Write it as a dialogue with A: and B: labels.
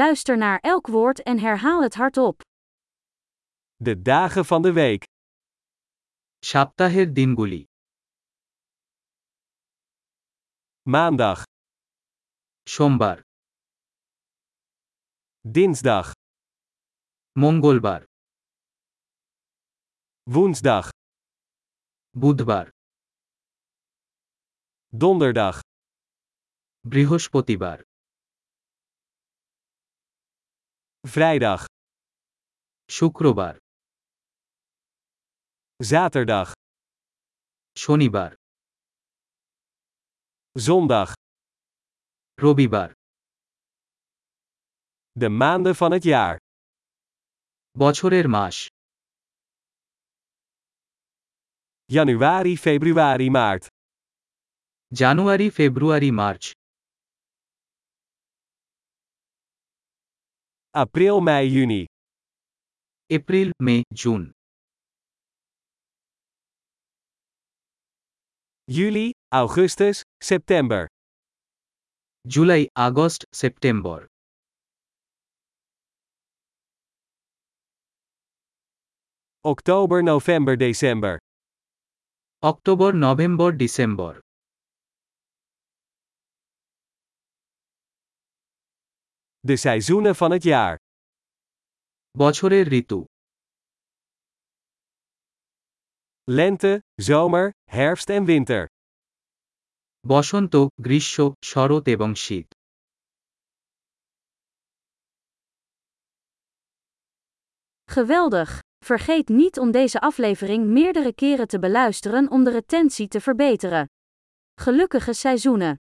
A: Luister naar elk woord en herhaal het hardop.
B: De dagen van de week.
C: সপ্তাহের দিনগুলি
B: Maandag,
C: সোমবার
B: dinsdag,
C: মঙ্গলবার
B: woensdag,
C: বুধবার
B: donderdag,
C: বৃহস্পতিবার
B: vrijdag,
C: শুক্রবার
B: zaterdag,
C: শনিবার
B: zondag.
C: রবিবার
B: De maanden van het jaar.
C: বছরের মাস
B: Januari, februari, maart.
C: জানুয়ারি ফেব্রুয়ারি মার্চ
B: April, mei, juni.
C: এপ্রিল মে জুন
B: Juli, augustus, september.
C: জুলাই আগস্ট সেপ্টেম্বর
B: Oktober, november, december.
C: অক্টোবর নভেম্বর ডিসেম্বর
B: De seizoenen van het jaar.
C: বছরের ঋতু
B: Lente, zomer, herfst en winter.
C: বসন্ত গ্রীষ্ম শরৎ এবং শীত
A: Geweldig! Vergeet niet om deze aflevering meerdere keren te beluisteren om de retentie te verbeteren. Gelukkige seizoenen!